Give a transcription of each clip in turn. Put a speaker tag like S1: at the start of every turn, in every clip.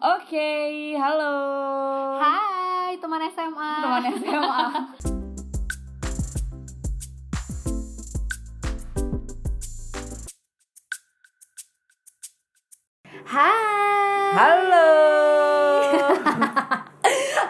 S1: Oke, halo.
S2: Hai teman SMA.
S1: Teman SMA.
S2: Hai.
S1: halo.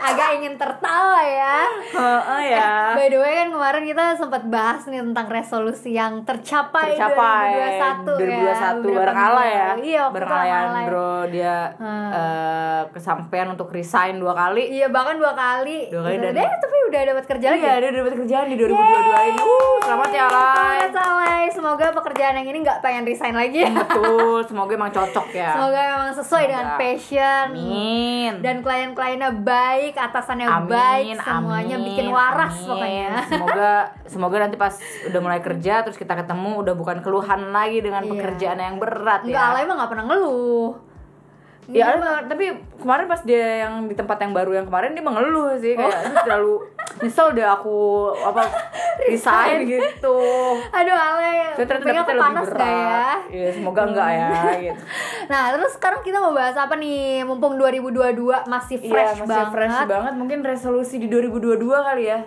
S2: Agak ingin tertawa ya.
S1: Heeh ya.
S2: By the way kan kemarin kita sempat bahas nih tentang resolusi yang tercapai,
S1: Tercapai
S2: 2021, ya.
S1: 2021
S2: beberapa
S1: bareng Ala
S2: minggu
S1: ya.
S2: lalu. Iya, waktu
S1: bareng
S2: itu
S1: Ala
S2: sama Ala.
S1: Leandro dia
S2: Hmm.
S1: eh, kesampaian untuk resign dua kali.
S2: Iya, bahkan dua kali.
S1: Dua kali
S2: Gitu.
S1: dan-
S2: Deh, tapi udah dapat kerja lagi.
S1: Iya, dia udah dapat kerjaan di 2022 ini. Uh, selamat ya, Lai.
S2: Selamat Alay. Semoga pekerjaan yang ini nggak pengen resign lagi. ya.
S1: Betul, semoga emang cocok ya.
S2: Semoga memang sesuai dengan
S1: Iya. Semoga.
S2: passion.
S1: Amin.
S2: dan klien-kliennya baik, atasannya baik, semuanya
S1: amin, Iya.
S2: bikin waras
S1: amin.
S2: pokoknya.
S1: Semoga semoga nanti pas udah mulai kerja terus kita ketemu udah bukan keluhan lagi dengan
S2: Iya.
S1: pekerjaan yang berat
S2: Enggak,
S1: ya.
S2: Alay mah nggak pernah ngeluh.
S1: Ya, Alay, tapi kemarin pas dia yang di tempat yang baru yang kemarin dia mengeluh sih
S2: Oh.
S1: kayak "Aduh, terlalu nyesel deh aku apa resign gitu.
S2: Aduh Alay,
S1: Saya ternyata dapetnya
S2: kupingnya
S1: lebih
S2: kepanas
S1: berat.
S2: nggak ya?
S1: Iya, semoga enggak ya gitu.
S2: Nah, terus sekarang kita mau bahas apa nih? Mumpung 2022 masih
S1: Iya,
S2: fresh
S1: masih
S2: banget.
S1: fresh banget. Mungkin resolusi di 2022 kali ya.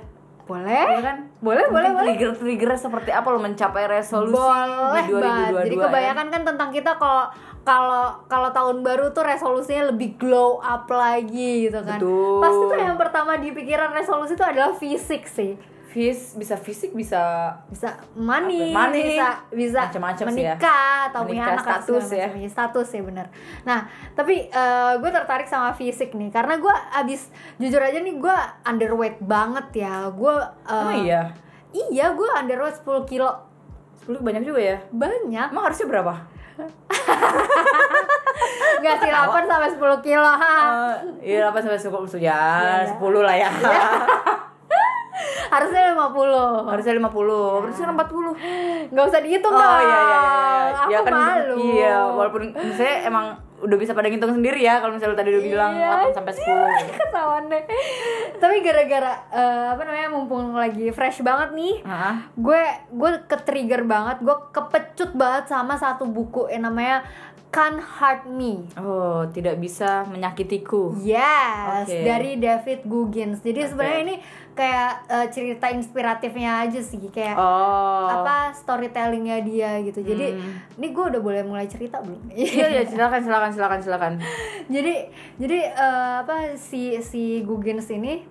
S2: Boleh?
S1: Iya kan?
S2: Boleh, boleh, boleh.
S1: Trigger trigger seperti apa lo mencapai resolusi
S2: Boleh
S1: di 2022
S2: banget. Jadi
S1: ya?
S2: kebanyakan kan tentang kita kalau kalau kalau tahun baru tuh resolusinya lebih glow up lagi gitu kan.
S1: Betul.
S2: Pasti tuh yang pertama di pikiran resolusi itu adalah fisik sih.
S1: Fis- bisa fisik bisa
S2: bisa money,
S1: Apa? Money.
S2: bisa bisa
S1: Macam-macam sih ya.
S2: menikah atau punya
S1: Menikah,
S2: anak atau
S1: status
S2: segala
S1: ya.
S2: macam. Iya, status ya benar nah tapi eh, gue tertarik sama fisik nih karena gue abis jujur aja nih gue underweight banget ya gue
S1: emang iya
S2: iya gue underweight 10 kilo
S1: sepuluh banyak juga ya
S2: banyak
S1: emang harusnya berapa
S2: nggak sih 8 sampai 10 kilo ha.
S1: iya delapan sampai sepuluh ya
S2: Iya.
S1: sepuluh lah ya
S2: harusnya 50
S1: harusnya lima puluh harusnya empat puluh iya,
S2: nggak usah
S1: Oh,
S2: dihitung dong aku
S1: ya kan
S2: malu
S1: iya walaupun saya emang udah bisa pada ngitung sendiri ya kalau misalnya lu tadi udah bilang
S2: Iya,
S1: 8 sampai sepuluh
S2: ketahuan deh tapi gara-gara eh, apa namanya mumpung lagi fresh banget nih
S1: Heeh.
S2: gue gue ke trigger banget gue kepecut banget sama satu buku yang namanya Can't Hurt Me
S1: oh tidak bisa menyakitiku
S2: Yes,
S1: Oke.
S2: dari David Goggins. Jadi sebenarnya ini kayak eh, cerita inspiratifnya aja sih, kayak
S1: oh Hmm.
S2: apa storytellingnya dia gitu. Jadi ini gue udah boleh mulai cerita belum?
S1: iya iya silakan silakan silakan silakan
S2: jadi jadi eh, apa si si Gugins ini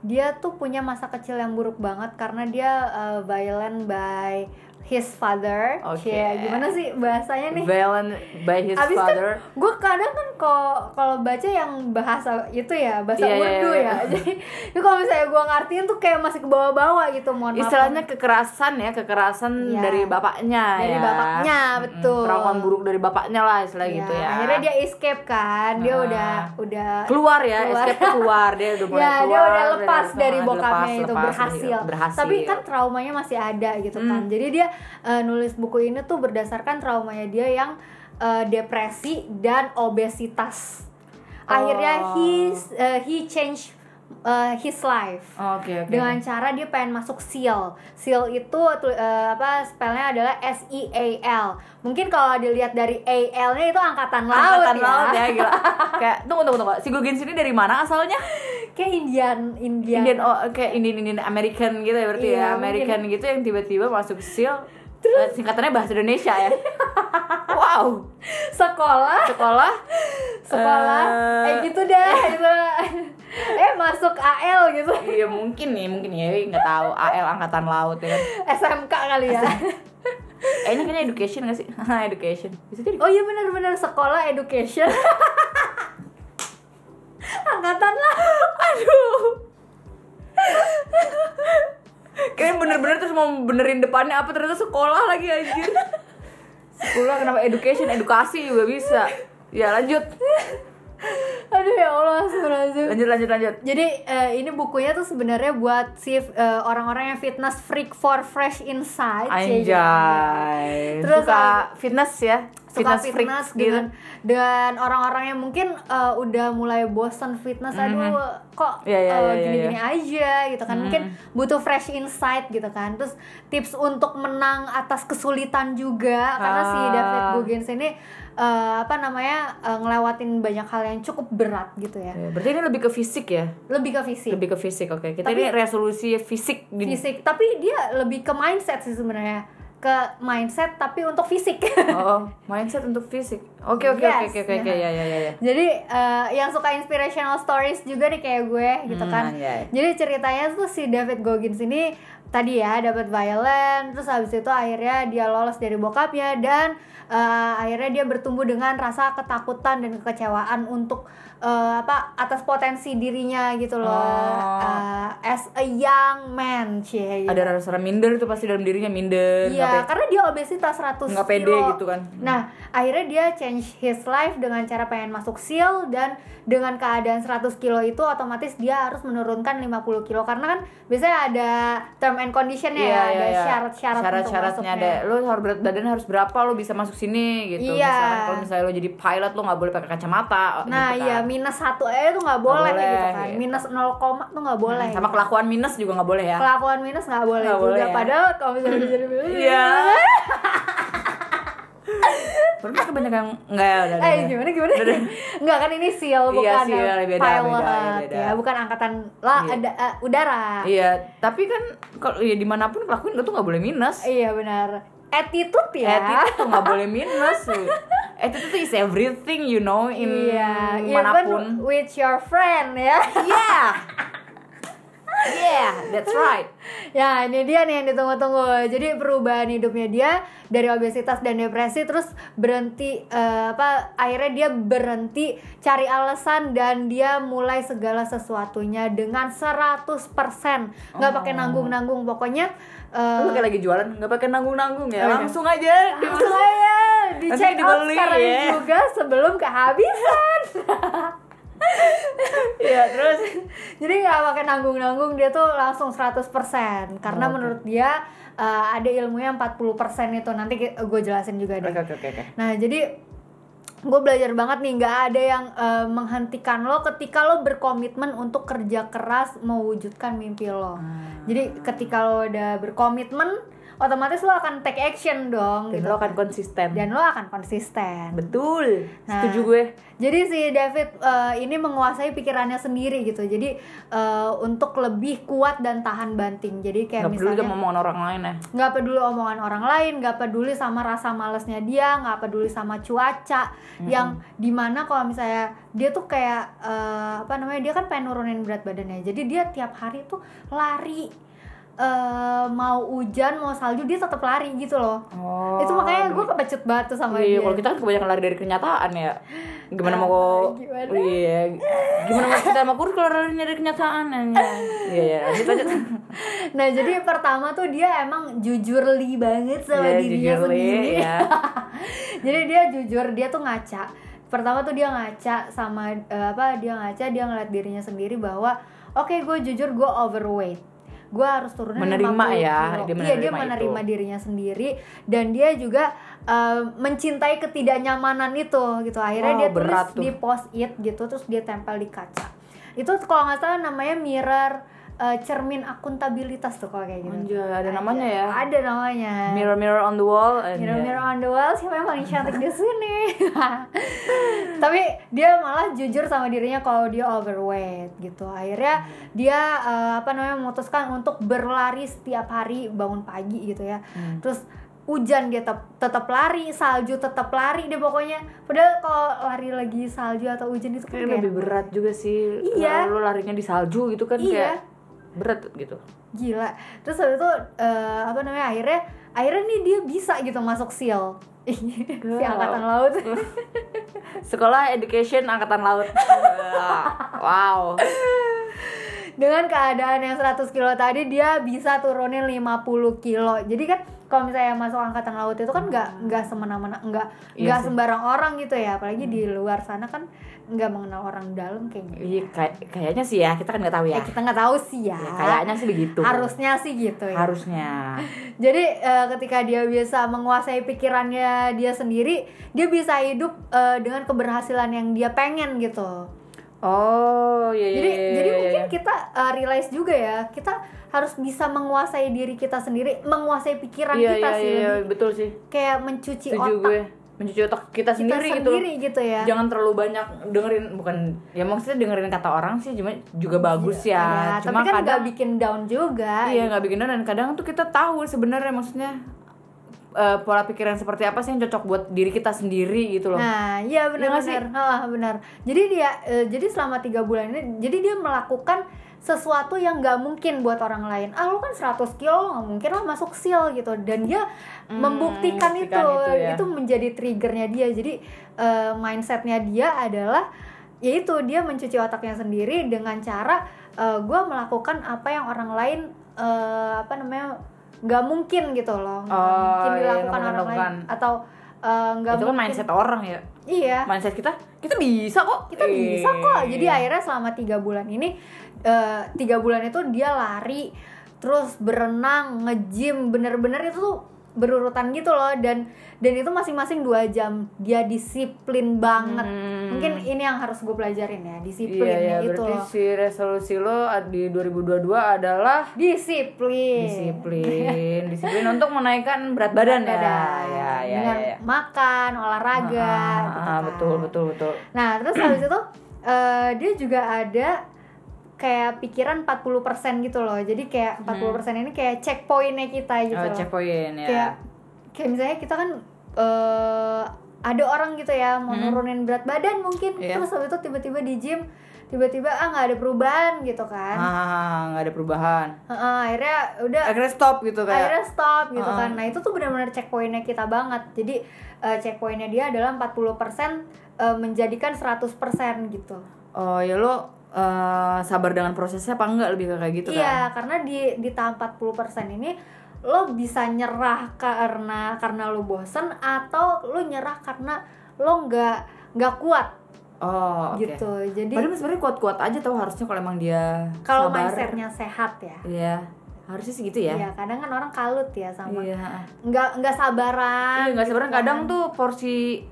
S2: dia tuh punya masa kecil yang buruk banget karena dia eh, violent by his father.
S1: Oke.
S2: Kayak gimana sih bahasanya nih?
S1: Valen by his
S2: Abis
S1: father
S2: kan gue kadang kan kalau kalau baca yang bahasa itu ya bahasa
S1: Iya, iya,
S2: Urdu
S1: iya.
S2: ya. Jadi itu kalau misalnya gue ngartiin tuh kayak masih ke bawah-bawah gitu. Mohon maaf.
S1: istilahnya kekerasan ya kekerasan
S2: Iya.
S1: dari bapaknya
S2: Dari
S1: ya.
S2: bapaknya,
S1: Mm-mm,
S2: betul.
S1: perlakuan buruk dari bapaknya lah istilah
S2: Ya,
S1: gitu ya
S2: Akhirnya dia escape kan. Dia
S1: Nah.
S2: udah udah
S1: keluar ya
S2: Keluar.
S1: escape tuh keluar dia udah mulai
S2: ya
S1: keluar
S2: dia udah lepas
S1: udah
S2: dari
S1: lepas,
S2: bokapnya
S1: lepas,
S2: itu
S1: lepas,
S2: berhasil.
S1: berhasil Hmm.
S2: tapi kan traumanya masih ada gitu kan jadi dia eh, nulis buku ini tuh berdasarkan traumanya dia yang eh, depresi dan obesitas
S1: Oh.
S2: akhirnya he eh, he change eh, his life
S1: oke oke
S2: dengan cara dia pengen masuk seal seal itu tu- eh, apa spellnya adalah S E A L mungkin kalau dilihat dari A L nya itu angkatan laut
S1: Angkatan
S2: ya,
S1: laut ya gila kayak tunggu tunggu tunggu si Gugin sini dari mana asalnya
S2: kayak Indian Indian
S1: Indian oh, kayak Indian Indian American gitu ya berarti
S2: Iya,
S1: ya American gitu yang tiba-tiba masuk seal eh, singkatannya bahasa Indonesia ya wow
S2: sekolah
S1: sekolah
S2: sekolah
S1: Eh.
S2: eh gitu dah gitu eh masuk AL gitu
S1: Iya mungkin nih, mungkin ya nggak tahu AL angkatan laut ya kan.
S2: SMK kali ya
S1: Eh ini kayaknya education nggak sih? Haha, education. Bisa jadi.
S2: oh iya benar-benar sekolah education angkatan lah
S1: Aduh. Kayaknya bener-bener terus mau benerin depannya apa ternyata sekolah lagi anjir. Sekolah kenapa education, edukasi juga bisa. Ya lanjut.
S2: aduh ya Allah astagfirullahaladzim.
S1: Lanjut lanjut lanjut.
S2: jadi eh, ini bukunya tuh sebenarnya buat si eh, orang-orang yang fitness
S1: Iya,
S2: freak for fresh ya, insight
S1: Anjay.
S2: Terus,
S1: Terus suka um, fitness ya.
S2: suka
S1: Fitness
S2: fitness,
S1: freak gitu.
S2: dengan dan orang-orang yang mungkin eh, udah mulai bosen fitness aduh kok
S1: Mhm. Iya, iya, iya,
S2: eh,
S1: iya, Mhm.
S2: gini-gini aja gitu kan mungkin butuh fresh insight gitu kan terus tips untuk menang atas kesulitan juga karena si
S1: Ah.
S2: David Goggins ini eh, apa namanya eh, ngelewatin banyak hal yang cukup berat gitu ya
S1: Ya, berarti ini lebih ke fisik ya?
S2: lebih ke fisik
S1: Lebih ke fisik, oke. Kita
S2: Tapi-
S1: ini resolusi fisik di
S2: fisik tapi dia lebih ke mindset sih sebenarnya ke mindset tapi untuk fisik
S1: Oh, mindset untuk fisik. Oke, oke,
S2: Yes. Iya.
S1: oke, oke, oke, oke. Ya, ya, ya, ya.
S2: Jadi eh, yang suka inspirational stories juga nih kayak gue gitu
S1: Hmm,
S2: kan.
S1: ya.
S2: Jadi ceritanya tuh si David Goggins ini tadi ya dapat violent, terus habis itu akhirnya dia lolos dari bokapnya dan eh, akhirnya dia bertumbuh dengan rasa ketakutan dan kekecewaan untuk eh, apa atas potensi dirinya gitu loh.
S1: Oh.
S2: Eh, as a young man, cie. gitu.
S1: Ada rasa minder itu pasti dalam dirinya minder,
S2: Iya,
S1: nggak pe-
S2: karena dia obesitas 100
S1: nggak pede
S2: kilo.
S1: gitu kan.
S2: Nah, akhirnya dia change his life dengan cara pengen masuk SEAL E dan dengan keadaan 100 kilo itu otomatis dia harus menurunkan 50 kilo karena kan biasanya ada term and conditionnya
S1: Iya,
S2: ya,
S1: iya,
S2: ada
S1: iya.
S2: syarat-syarat untuk
S1: syarat-syaratnya ada. Lo
S2: masuknya.
S1: harus berat badan harus berapa lo bisa masuk sini gitu.
S2: Iya.
S1: Misalkan kalau misalnya lo jadi pilot lo nggak boleh pakai kacamata.
S2: Nah,
S1: gitu kan.
S2: iya minus satu aja tuh nggak boleh,
S1: boleh,
S2: gitu kan.
S1: gitu. Nah,
S2: Minus 0, koma tuh nggak boleh.
S1: Sama
S2: gitu.
S1: kelakuan minus juga nggak boleh ya.
S2: Kelakuan minus nggak boleh
S1: Nggak
S2: juga
S1: boleh ya.
S2: padahal kalau misalnya jadi minus.
S1: Iya. Pernah kebanyakan nggak ya udah. udah,
S2: Eh
S1: udah.
S2: gimana gimana? Enggak kan ini seal
S1: Iya,
S2: bukan eh,
S1: seal,
S2: pilot
S1: beda, beda, iya, beda.
S2: ya, bukan angkatan lah
S1: Iya.
S2: ada eh, udara.
S1: Iya, tapi kan kalau ya dimanapun kelakuin lo tuh nggak boleh minus.
S2: Iya benar. Attitude ya.
S1: Attitude tuh nggak boleh minus. Attitude tuh is everything you know in
S2: Iya, even
S1: manapun. Iya.
S2: with your friend ya.
S1: Yeah. Yeah, that's right.
S2: Ya, ini dia nih yang ditunggu-tunggu. Jadi perubahan hidupnya dia dari obesitas dan depresi terus berhenti eh, apa akhirnya dia berhenti cari alasan dan dia mulai segala sesuatunya dengan 100%. nggak
S1: Oh.
S2: pakai nanggung-nanggung pokoknya eh,
S1: Lu kayak lagi jualan nggak pakai nanggung-nanggung ya.
S2: Oh, iya.
S1: Langsung aja di
S2: Langsung aja di
S1: Nanti
S2: check out
S1: dibeli,
S2: sekarang
S1: ya.
S2: juga sebelum kehabisan.
S1: Iya, terus
S2: Jadi nggak pakai nanggung-nanggung dia tuh langsung 100% karena
S1: Oh, Oke.
S2: menurut dia eh, ada ilmunya 40% itu nanti gue jelasin juga deh.
S1: Oke, oke, oke, oke.
S2: Nah, jadi gue belajar banget nih nggak ada yang eh, menghentikan lo ketika lo berkomitmen untuk kerja keras mewujudkan mimpi lo.
S1: Hmm.
S2: Jadi ketika lo udah berkomitmen otomatis lo akan take action dong
S1: Dan
S2: gitu.
S1: lo akan konsisten.
S2: Dan lo akan konsisten.
S1: Betul.
S2: Nah.
S1: Setuju gue.
S2: Jadi si David eh, ini menguasai pikirannya sendiri gitu. Jadi eh, untuk lebih kuat dan tahan banting. Jadi kayak
S1: Nggak perlu
S2: misalnya
S1: dia ngomongin orang lain ya.
S2: nggak peduli omongan orang lain, nggak peduli sama rasa malesnya dia, nggak peduli sama cuaca yang dimana kalau misalnya dia tuh kayak eh, apa namanya dia kan pengen nurunin berat badannya, jadi dia tiap hari tuh lari Eh, mau hujan mau salju dia tetap lari gitu loh.
S1: Oh.
S2: itu makanya gue kepecut banget tuh sama
S1: Iya,
S2: dia.
S1: kalau kita kan kebanyakan lari dari kenyataan ya. Gimana mau
S2: Ah,
S1: kok?
S2: gimana?
S1: Iya. Gimana mau kita mau kurus kalau larinya dari kenyataan? ya? Iya, iya. Lanjut lanjut.
S2: Nah jadi pertama tuh dia emang jujurly banget
S1: Iya,
S2: sama dirinya
S1: jujur, Li,
S2: sendiri
S1: ya.
S2: Jadi dia jujur, dia tuh ngaca Pertama tuh dia ngaca sama eh, apa dia ngaca dia ngeliat dirinya sendiri bahwa Oke gue jujur gue overweight Gue harus turunin
S1: Menerima
S2: 50
S1: ya,
S2: kilo."
S1: dia
S2: Iya dia
S1: menerima
S2: menerima dirinya sendiri Dan dia juga eh, mencintai ketidaknyamanan itu gitu Akhirnya
S1: Wow,
S2: dia
S1: berat
S2: tulis
S1: tuh.
S2: di post it gitu Terus dia tempel di kaca Itu kalau nggak salah namanya mirror eh, cermin akuntabilitas tuh kalau kayak gitu
S1: Anjay, ada namanya ya.
S2: ada namanya
S1: Mirror mirror on the wall. ya, anjay.
S2: mirror mirror on the wall siapa yang paling cantik di sini tapi dia malah jujur sama dirinya kalau dia overweight gitu akhirnya
S1: Hmm.
S2: dia eh, apa namanya memutuskan untuk berlari setiap hari bangun pagi gitu ya
S1: Hmm.
S2: terus hujan dia tetap tetap lari salju tetap lari deh pokoknya padahal kalau lari lagi salju atau hujan itu kan
S1: Kayaknya
S2: kayak-
S1: lebih berat juga sih.
S2: Iya.
S1: Lu larinya di salju gitu kan
S2: Iya.
S1: kayak berat gitu.
S2: gila terus habis itu eh, apa namanya akhirnya akhirnya nih dia bisa gitu masuk seal si angkatan laut
S1: Sekolah Education Angkatan Laut. wow.
S2: dengan keadaan yang 100 kilo tadi dia bisa turunin 50 kilo jadi kan kalau misalnya masuk angkatan laut itu kan nggak nggak semena-mena nggak
S1: Iya
S2: nggak
S1: sih.
S2: sembarang orang gitu ya apalagi di luar sana kan nggak mengenal orang dalam kayaknya
S1: Iya, kay- kayaknya sih ya, kita kan nggak tahu ya.
S2: ya kita nggak tahu sih ya,
S1: Ya, kayaknya sih begitu.
S2: harusnya sih gitu ya
S1: Harusnya.
S2: Jadi eh, ketika dia bisa menguasai pikirannya dia sendiri, dia bisa hidup eh, dengan keberhasilan yang dia pengen gitu.
S1: Oh, iya iya.
S2: Jadi
S1: iya,
S2: jadi
S1: iya,
S2: mungkin
S1: iya.
S2: kita eh, realize juga ya, kita harus bisa menguasai diri kita sendiri, menguasai pikiran
S1: Iya,
S2: kita
S1: iya,
S2: sih
S1: iya,
S2: lebih
S1: betul sih.
S2: kayak mencuci
S1: Setuju
S2: otak
S1: gue. Mencuci otak kita
S2: kita sendiri,
S1: sendiri, gitu. loh.
S2: gitu, ya.
S1: Jangan terlalu banyak dengerin bukan ya maksudnya dengerin kata orang sih cuma juga bagus ya.
S2: Iya.
S1: Cuma
S2: tapi kan nggak
S1: kadang
S2: bikin down juga. gitu.
S1: iya nggak bikin down dan kadang tuh kita tahu sebenarnya maksudnya eh, pola pikiran seperti apa sih yang cocok buat diri kita sendiri gitu loh.
S2: Nah, iya
S1: nggak sih?
S2: benar-benar. Heeh, benar. Jadi dia eh, jadi selama tiga bulan ini jadi dia melakukan sesuatu yang nggak mungkin buat orang lain. Ah, lu kan 100 kilo nggak mungkin lah masuk seal gitu. Dan dia
S1: Hmm,
S2: membuktikan, itu.
S1: membuktikan itu
S2: Itu,
S1: ya.
S2: menjadi triggernya dia. Jadi eh, mindsetnya dia adalah yaitu dia mencuci otaknya sendiri dengan cara eh, gua melakukan apa yang orang lain eh, apa namanya nggak mungkin gitu loh. Nggak
S1: Oh,
S2: mungkin
S1: iya, nggak
S2: dilakukan
S1: mungkin
S2: orang lain
S1: dilakukan.
S2: atau eh, nggak
S1: itu kan
S2: mungkin
S1: mindset orang ya.
S2: Iya.
S1: Mindset kita, kita bisa kok.
S2: Kita bisa
S1: Iya.
S2: kok. Jadi akhirnya selama tiga bulan ini, eh, tiga bulan itu dia lari, terus berenang, nge-gym, bener-bener itu tuh berurutan gitu loh. Dan dan itu masing-masing dua jam. Dia disiplin banget.
S1: Hmm.
S2: Mungkin ini yang harus gue pelajarin ya,
S1: Iya,
S2: disiplinnya
S1: ya,
S2: itu
S1: berarti
S2: loh.
S1: si resolusi lo di 2022 adalah
S2: Disiplin.
S1: disiplin, disiplin untuk menaikkan berat badan, ya,
S2: Badan.
S1: ya, ya,
S2: Dengan
S1: ya, ya.
S2: makan, olahraga,
S1: Ah,
S2: gitu
S1: ah,
S2: kan.
S1: betul, betul, betul.
S2: Nah, terus habis itu eh, dia juga ada kayak pikiran 40% gitu loh. Jadi kayak 40% ini kayak checkpointnya kita gitu
S1: Hmm. Oh,
S2: loh.
S1: checkpoint ya.
S2: Kayak kayak misalnya kita kan eh ada orang gitu ya mau
S1: Hmm.
S2: nurunin berat badan mungkin
S1: Iya.
S2: terus habis itu tiba-tiba di gym tiba-tiba ah nggak ada perubahan gitu kan.
S1: Ah, nggak ada perubahan.
S2: Heeh, akhirnya udah
S1: Akhirnya stop gitu kayak. Ah.
S2: akhirnya stop gitu
S1: Heeh.
S2: kan nah itu tuh benar-benar checkpointnya kita banget jadi eh, checkpointnya dia adalah 40% eh, menjadikan 100% gitu
S1: Oh, ya lo eh, sabar dengan prosesnya apa enggak lebih ke kayak gitu kan?
S2: iya karena di di tahap 40% ini lo bisa nyerah karena karena lo bosen atau lo nyerah karena lo nggak nggak kuat
S1: Oh, oke.
S2: gitu jadi
S1: Padahal sebenarnya kuat-kuat aja tau harusnya kalau emang dia
S2: kalau
S1: sabar.
S2: mindsetnya sehat ya
S1: Iya. Harusnya segitu ya.
S2: Iya, kadang kan orang kalut ya sama
S1: Iya.
S2: nggak nggak sabaran
S1: Iya, nggak sebenarnya kadang tuh porsi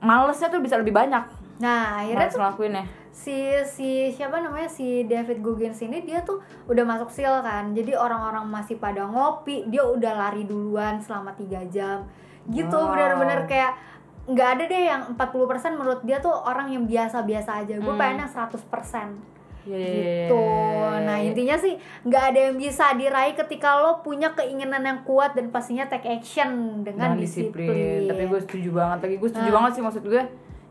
S1: malesnya tuh bisa lebih banyak.
S2: nah akhirnya
S1: Males ngelakuinnya.
S2: si si siapa namanya si David Goggins ini dia tuh udah masuk seal kan jadi orang-orang masih pada ngopi dia udah lari duluan selama tiga jam gitu
S1: Wow.
S2: benar-benar kayak nggak ada deh yang 40% menurut dia tuh orang yang biasa-biasa aja gue
S1: Hmm.
S2: pengen yang 100%
S1: Iya, iya, iya, iya,
S2: gitu
S1: iya, iya.
S2: nah intinya sih nggak ada yang bisa diraih ketika lo punya keinginan yang kuat dan pastinya take action dengan,
S1: dengan disiplin.
S2: disiplin,
S1: Tapi gue setuju banget lagi. Gue setuju
S2: Nah.
S1: banget sih maksud gue.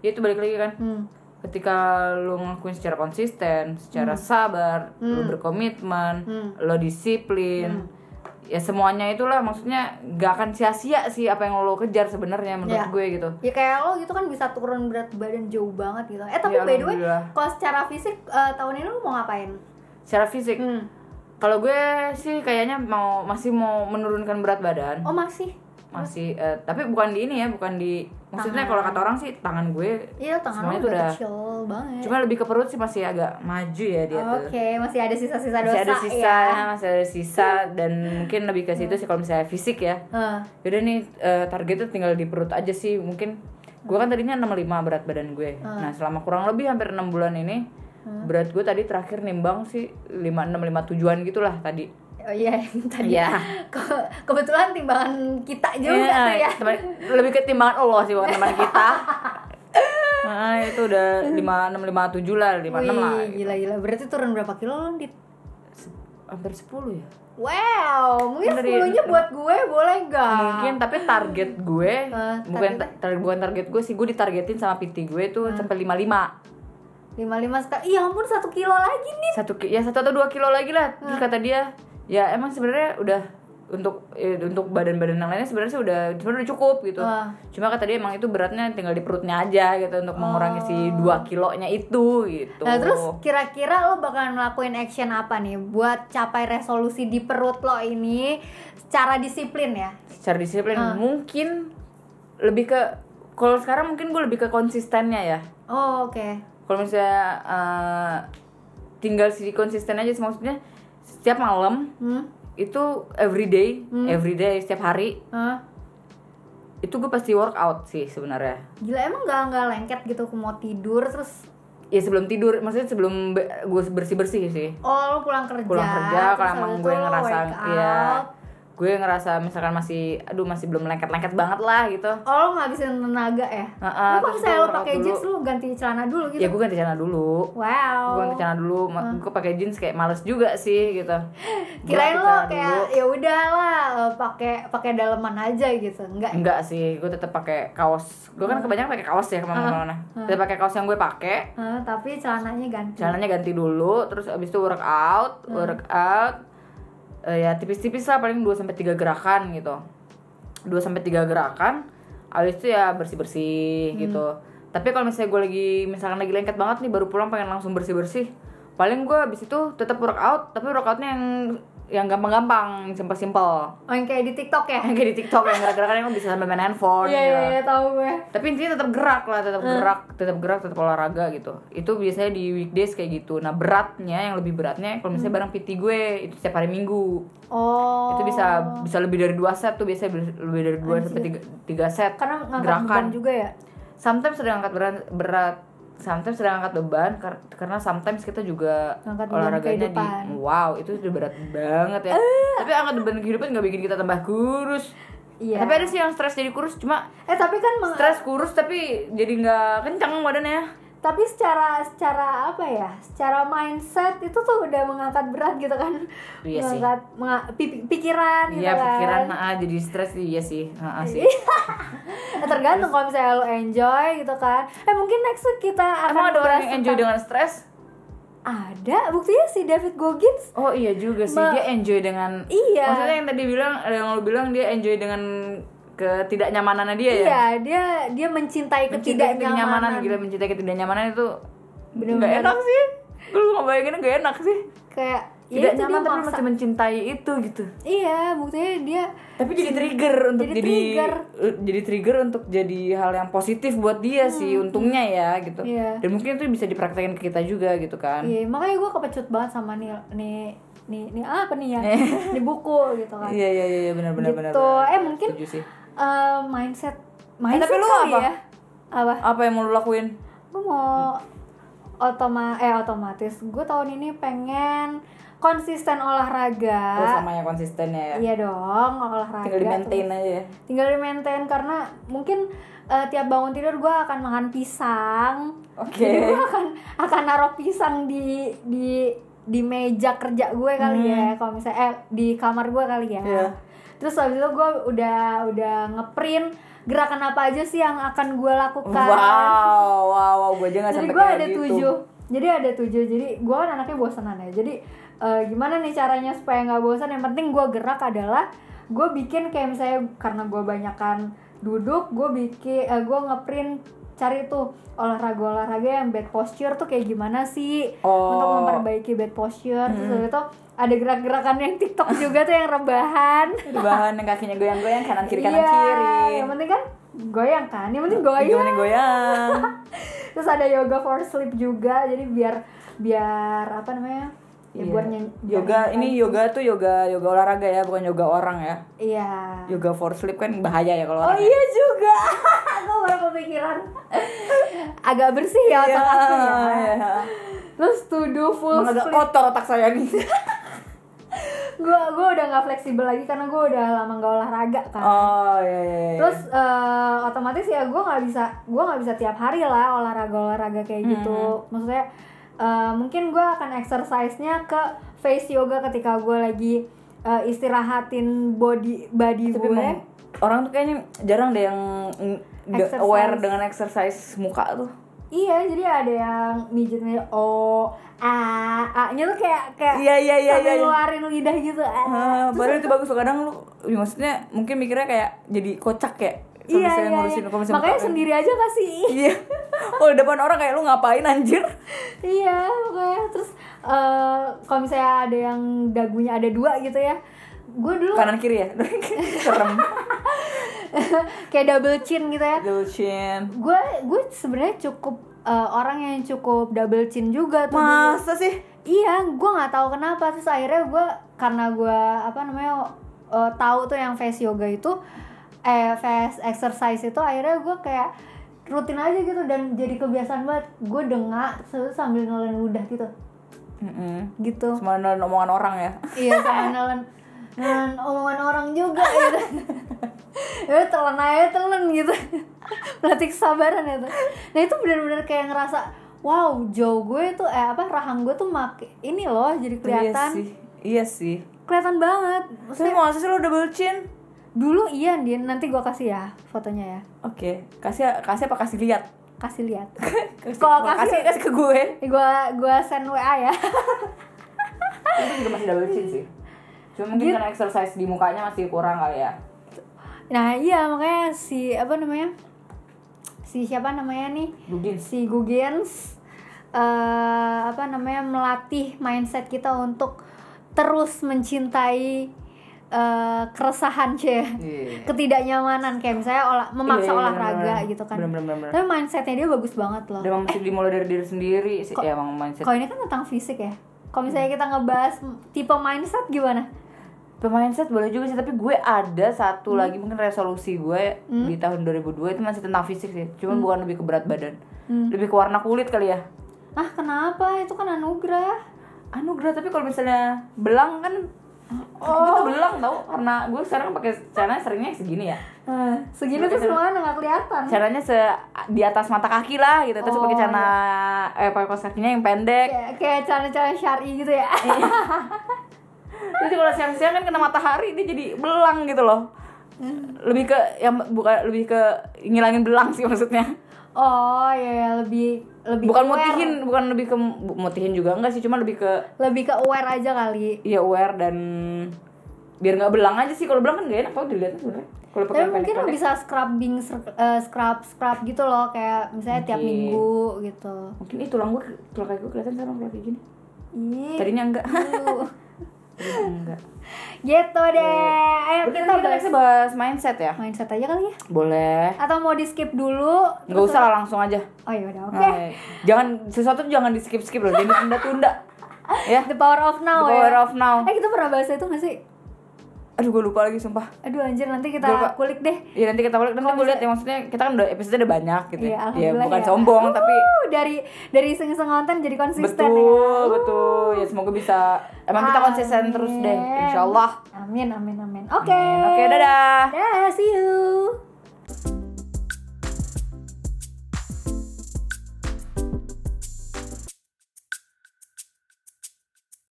S1: Ya itu balik lagi kan.
S2: Hmm.
S1: Ketika lo ngelakuin secara konsisten, secara sabar, lo
S2: Hmm.
S1: berkomitmen,
S2: Hmm.
S1: lo disiplin. Ya semuanya itulah maksudnya gak akan sia-sia sih apa yang lo kejar sebenarnya menurut
S2: Iya.
S1: gue gitu.
S2: ya kayak lo gitu kan bisa turun berat badan jauh banget gitu eh tapi
S1: Ya,
S2: by the way
S1: alhamdulillah.
S2: kalau secara fisik eh, tahun ini lo mau ngapain
S1: Secara fisik,
S2: Hmm.
S1: kalau gue sih kayaknya mau masih mau menurunkan berat badan.
S2: oh masih
S1: masih eh, tapi bukan di ini ya bukan di maksudnya kalau kata orang sih tangan gue
S2: iya tangan
S1: Semuanya
S2: lo udah
S1: tuh udah-
S2: kecil banget
S1: cuma lebih ke perut sih masih agak maju ya dia
S2: oke
S1: tuh
S2: masih ada sisa-sisa Oh, dosa
S1: masih ada sisa
S2: ya Hmm.
S1: masih ada sisa dan mungkin lebih ke situ sih kalau misalnya fisik ya
S2: Heeh.
S1: yaudah nih eh, targetnya tinggal di perut aja sih mungkin gue kan tadinya 65 berat badan gue nah
S2: Ah.
S1: selama kurang lebih hampir enam bulan ini berat gue tadi terakhir nimbang sih 56 57an gitulah tadi
S2: oh iya yang tadi
S1: Iya.
S2: Ke- kebetulan timbangan kita juga
S1: Iya,
S2: tuh ya
S1: teman- lebih ketimbangan Allah sih bukan teman kita. Nah, itu udah 5 6 5 7 lah, 5 6 lah. gitu.
S2: Wih, gila-gila berarti turun berapa kilo lo dit
S1: Se- Hampir 10 ya.
S2: wow mungkin
S1: Bener ya,
S2: sepuluhnya buat gue boleh gak
S1: Mungkin tapi target gue
S2: Eh,
S1: bukan tar- bukan target gue sih, gue ditargetin sama PT gue tuh
S2: Ah.
S1: sampai 55.
S2: lima lima sekali iya ampun satu kilo lagi nih Nah.
S1: Satu ki- ya satu atau dua kilo lagi lah. Terus kata dia, ya emang sebenarnya udah untuk eh, untuk badan-badan yang lainnya sebenarnya sih udah sebenarnya udah cukup gitu.
S2: Ah.
S1: Cuma kata dia emang itu beratnya tinggal di perutnya aja gitu untuk mengurangi si 2 kilonya itu gitu.
S2: Oh. Nah, terus kira-kira lo bakalan ngelakuin action apa nih buat capai resolusi di perut lo ini secara disiplin ya?
S1: secara disiplin mungkin lebih ke kalau sekarang mungkin gue lebih ke konsistennya ya.
S2: Oh, oke.
S1: Kalau misalnya eh, tinggal si konsisten aja sih maksudnya setiap malam
S2: Hmm?
S1: itu everyday, everyday setiap hari
S2: Hah?
S1: itu gue pasti workout sih sebenarnya.
S2: Gila emang gak, nggak lengket gitu ke mau tidur terus
S1: ya sebelum tidur maksudnya sebelum gue bersih bersih sih
S2: oh lo pulang kerja.
S1: pulang kerja
S2: terus
S1: kalau
S2: habis
S1: emang
S2: itu
S1: gue
S2: lo
S1: ngerasa
S2: workout.
S1: ya gue ngerasa misalkan masih aduh masih belum lengket lengket banget lah gitu
S2: Oh, lo ngabisin tenaga
S1: Heeh,
S2: ya? lo kalau
S1: terus gue
S2: misalnya lo pakai
S1: workout
S2: jeans lo ganti celana dulu gitu. Oh.
S1: ya gue ganti celana dulu
S2: Wow.
S1: gue ganti celana dulu ma- gue pakai jeans kayak males juga sih gitu Gue
S2: Kirain
S1: ganti
S2: lo
S1: celana dulu.
S2: kayak ya udahlah eh, pakai pakai daleman aja gitu. Enggak.
S1: enggak sih gue tetap pakai kaos gue
S2: Oh.
S1: kan kebanyakan pakai kaos ya kemana-mana tetap pakai kaos yang gue pakai
S2: Hah, tapi celananya ganti.
S1: jalannya ganti dulu terus abis itu workout
S2: Hmm.
S1: workout eh, ya tipis-tipis lah paling 2 sampai 3 gerakan gitu 2 sampai 3 gerakan abis itu ya
S2: Hmm.
S1: bersih-bersih gitu tapi kalau misalnya gue lagi misalkan lagi lengket banget nih baru pulang pengen langsung bersih-bersih paling gue abis itu tetap workout tapi workoutnya yang yang gampang-gampang simple-simple
S2: Oh, yang kayak di TikTok ya?
S1: yang kayak di TikTok yang gerak-gerakan yang bisa sambil main handphone
S2: Iya
S1: gitu.
S2: iya iya tahu gue.
S1: tapi intinya tetap gerak lah tetap
S2: Hmm.
S1: gerak tetap gerak tetap olahraga gitu itu biasanya di weekdays kayak gitu nah beratnya yang lebih beratnya kalau
S2: Hmm.
S1: misalnya barang PT gue itu setiap hari minggu
S2: Oh.
S1: itu bisa bisa lebih dari dua set tuh biasanya ber- lebih dari dua sampai tiga, tiga set
S2: karena ngangkat
S1: gerakan
S2: beban juga ya.
S1: sometimes sedang angkat berat berat sometimes sedang angkat beban kar- karena sometimes kita juga
S2: Angkat beban
S1: olahraganya di
S2: kehidupan. Eh.
S1: wow itu udah berat banget ya tapi angkat beban kehidupan nggak bikin kita tambah kurus
S2: Iya.
S1: tapi ada sih yang stres jadi kurus cuma
S2: Eh tapi kan meng-
S1: stres kurus tapi jadi nggak kencang badannya
S2: tapi secara secara apa ya? Secara mindset itu tuh udah mengangkat berat gitu kan.
S1: Iya sih.
S2: mengangkat menga- pi- pikiran gitu
S1: iya
S2: kan.
S1: pikiran ah jadi stres sih, iya sih ah, ah, sih
S2: Eh, Tergantung kalau misalnya lo enjoy gitu kan. Eh mungkin next week kita akan
S1: emang ada orang yang
S2: bahas
S1: enjoy
S2: tentang-
S1: dengan stres
S2: Ada, buktinya si David Goggins.
S1: oh iya juga sih
S2: Ma-
S1: dia enjoy dengan
S2: Iya.
S1: maksudnya yang tadi bilang yang lu bilang dia enjoy dengan ketidaknyamanannya dia ya
S2: Iya, dia dia mencintai
S1: Mencintai ketidaknyamanan
S2: ketidaknyamanan.
S1: gila mencintai ketidaknyamanan itu nggak
S2: Bener-bener.
S1: enak sih gue nggak bayangin gak enak sih
S2: Kayak ya
S1: tidak
S2: itu dia
S1: nyaman tapi lu
S2: maksa.
S1: masih mencintai itu gitu
S2: Iya, buktinya dia
S1: tapi jadi trigger untuk
S2: Jadi
S1: jadi
S2: trigger.
S1: eh, jadi trigger untuk jadi hal yang positif buat dia sih untungnya ya gitu
S2: Iya.
S1: dan mungkin itu bisa dipraktekin ke kita juga gitu kan
S2: Iya, makanya gue kepecut banget sama nih nih nih, nih apa nih ya? nih buku gitu kan.
S1: Eh. iya iya iya benar benar benar
S2: Gitu.
S1: benar.
S2: Eh, mungkin-
S1: Setuju sih
S2: Eh, mindset mindset
S1: tapi lu
S2: kali
S1: apa?
S2: ya. Apa?
S1: apa yang mau lu lakuin
S2: Gue mau otoma eh otomatis gue tahun ini pengen konsisten olahraga.
S1: oh sama yang konsisten ya
S2: Ah. Iya dong, olahraga.
S1: tinggal di maintain aja ya
S2: tuh. Tinggal di maintain karena mungkin eh, tiap bangun tidur gue akan makan pisang.
S1: oke
S2: Jadi gue akan akan naruh pisang di di di meja kerja gue kali ya kalau misalnya eh, di kamar gue kali ya.
S1: Hmm. Iya.
S2: Terus habis itu gue udah udah ngeprint gerakan apa aja sih yang akan gue lakukan.
S1: wow wow wow gue aja nggak
S2: Jadi
S1: sampai
S2: gue
S1: kayak
S2: ada
S1: gitu
S2: tujuh. Jadi ada tujuh. Jadi gue kan anaknya bosanan ya. Jadi eh, gimana nih caranya supaya nggak bosan? Yang penting gue gerak adalah gue bikin kayak misalnya karena gue banyakan duduk, gue bikin eh, gue ngeprint cari tuh olahraga olahraga yang bad posture tuh kayak gimana sih
S1: Oh. Hmm.
S2: untuk memperbaiki bad posture terus habis itu ada gerak-gerakan yang TikTok juga tuh yang rebahan
S1: Ada bahan yang kakinya goyang goyang kanan kiri kanan
S2: Iya,
S1: kiri
S2: yang penting kan goyang kan yang penting goyang
S1: Gimana goyang
S2: terus ada yoga for sleep juga jadi biar biar apa namanya ya
S1: Iya.
S2: buat nyanyi kan.
S1: yoga ini yoga tuh yoga yoga olahraga ya bukan yoga orang ya
S2: iya
S1: yoga for sleep kan bahaya ya kalau
S2: oh
S1: orang
S2: iya juga aku baru kepikiran agak bersih ya otak aku ya
S1: iya.
S2: terus to do full
S1: Emang agak
S2: sleep
S1: kotor otak saya nih
S2: gue gue udah nggak fleksibel lagi karena gue udah lama nggak olahraga kan
S1: oh iya iya iya.
S2: terus eh, otomatis ya gue nggak bisa gue nggak bisa tiap hari lah olahraga olahraga kayak gitu maksudnya eh, mungkin gue akan exercise-nya ke face yoga ketika gue lagi eh, istirahatin body body
S1: tapi
S2: gue
S1: emang orang tuh kayaknya jarang deh yang nggak
S2: Exercise.
S1: aware dengan exercise muka tuh
S2: Iya, jadi ada yang mijit mijit o a a nya tuh kayak kayak
S1: Iya, iya, iya,
S2: sambil
S1: iya, iya.
S2: ngeluarin lidah gitu. Ah,
S1: Ah,
S2: Eh, terus
S1: padahal itu bagus loh. kadang lu ya maksudnya mungkin mikirnya kayak jadi kocak ya kalau
S2: Iya,
S1: misalnya
S2: iya,
S1: ngurusin
S2: iya.
S1: kalau misalnya
S2: Makanya
S1: buka-
S2: sendiri aja kasih.
S1: iya kalau di depan orang kayak lu ngapain anjir
S2: iya, makanya terus eh kalau misalnya ada yang dagunya ada dua gitu ya. Gue dulu
S1: kanan kiri ya serem
S2: kayak double chin gitu ya.
S1: double chin
S2: Gue gue sebenarnya cukup eh, orang yang cukup double chin juga tuh. dulu.
S1: masa sih
S2: Iya, gue nggak tahu kenapa terus akhirnya gue karena gue apa namanya eh, tahu tuh yang face yoga itu eh face exercise itu akhirnya gue kayak rutin aja gitu dan jadi kebiasaan banget gue dengak terus sambil nelen ludah gitu
S1: Mm-mm.
S2: gitu
S1: cuma nelen omongan orang ya
S2: iya sama nelen nelen omongan orang juga gitu ya telan aja telan gitu berarti kesabaran itu nah itu benar-benar kayak ngerasa wow jauh gue tuh eh apa rahang gue tuh mak ini loh jadi kelihatan
S1: iya sih iya sih
S2: kelihatan banget
S1: tapi
S2: Maksudnya,
S1: masa sih lu double chin
S2: dulu iya Din nanti gua kasih ya fotonya ya
S1: Oke, kasih kasih apa kasih lihat?
S2: kasih lihat
S1: Kasih,
S2: Kalau
S1: kalau
S2: kasih-
S1: kasih kasih ke gue.
S2: Eh, gua gua send wa ya
S1: Itu juga masih double chin sih. Cuma
S2: Gitu.
S1: mungkin karena exercise di mukanya masih kurang kali ya.
S2: nah iya makanya si apa namanya si siapa namanya nih
S1: Mungkin
S2: si Gugens eh apa namanya melatih mindset kita untuk terus mencintai eh, keresahan cie
S1: Iya.
S2: ketidaknyamanan kayak misalnya olah
S1: Iya,
S2: memaksa
S1: iya,
S2: olahraga
S1: bener-bener.
S2: gitu kan eh.
S1: Bener-bener, bener.
S2: tapi mindsetnya dia bagus banget loh
S1: Dan emang mesti dimulai dari diri sendiri sih. Ya, emang mindset.
S2: Kalau ini kan tentang fisik ya. Kalau misalnya kita ngebahas m- tipe mindset gimana?
S1: Mindset boleh juga sih, tapi gue ada satu
S2: Hmm?
S1: lagi mungkin resolusi gue di tahun 2002 itu masih tentang fisik sih.
S2: Hmm.
S1: Cuman bukan lebih ke berat badan. Lebih ke warna kulit kali ya.
S2: Ah kenapa? Itu kan anugerah.
S1: Anugerah, tapi kalau misalnya belang kan Oh, itu belang tau karena gue sekarang pakai celana seringnya segini ya.
S2: segini tuh semuanya nggak kelihatan.
S1: caranya se di atas mata kaki lah gitu terus
S2: Oh, iya.
S1: pakai celana eh pakai kaos kakinya yang pendek
S2: Kayak kayak cara-cara syari gitu ya.
S1: Iya, jadi kalau siang-siang kan kena matahari dia jadi belang gitu loh
S2: Hmm.
S1: lebih ke yang bukan lebih ke ngilangin belang sih maksudnya
S2: oh ya ya, lebih lebih
S1: bukan
S2: aware.
S1: mutihin bukan lebih ke bu- mutihin juga enggak sih cuma lebih ke
S2: Lebih ke aware aja kali.
S1: ya aware dan biar nggak belang aja sih kalau belang kan nggak enak kalau dilihatnya sebenarnya kalau pakai
S2: Tapi
S1: yang
S2: mungkin lo
S1: pendek-pendek.
S2: bisa scrubbing, ser- eh, scrub, scrub gitu loh kayak misalnya tiap
S1: Mungkin.
S2: minggu gitu.
S1: mungkin itu tulang gue tulang kaki gue kelihatan sekarang kalau kayak gini
S2: Ih,
S1: tadinya enggak
S2: lu. Iya,
S1: Tadinya enggak
S2: gitu deh. Ayo
S1: Iya. Berarti
S2: kita
S1: tadi
S2: bahas
S1: kita bahas mindset ya
S2: mindset aja kali ya.
S1: boleh
S2: Atau mau di skip dulu?
S1: nggak usah Nah, lah langsung aja
S2: Oh ya udah oke.
S1: Hai. Jangan sesuatu tuh jangan di skip skip loh, jadi tunda tunda. Ya,
S2: The power of
S1: the
S2: now
S1: power
S2: ya.
S1: of now.
S2: Eh kita pernah bahas itu gak sih?
S1: Aduh, gue lupa lagi sumpah.
S2: Aduh anjir nanti kita
S1: Lupa.
S2: kulik deh.
S1: Ya nanti kita balik, nanti
S2: Kalau
S1: gue lihat ya maksudnya kita kan udah episode udah banyak gitu.
S2: Iya,
S1: Ya,
S2: alhamdulillah
S1: bukan
S2: ya.
S1: sombong tapi
S2: Uh, dari dari iseng-iseng konten jadi konsisten
S1: betul
S2: ya.
S1: betul. Ya semoga bisa. Emang kita konsisten terus deh,
S2: Amin.
S1: insyaallah.
S2: Amin amin amin. Oke.
S1: Oke, dadah.
S2: Dadah, see you.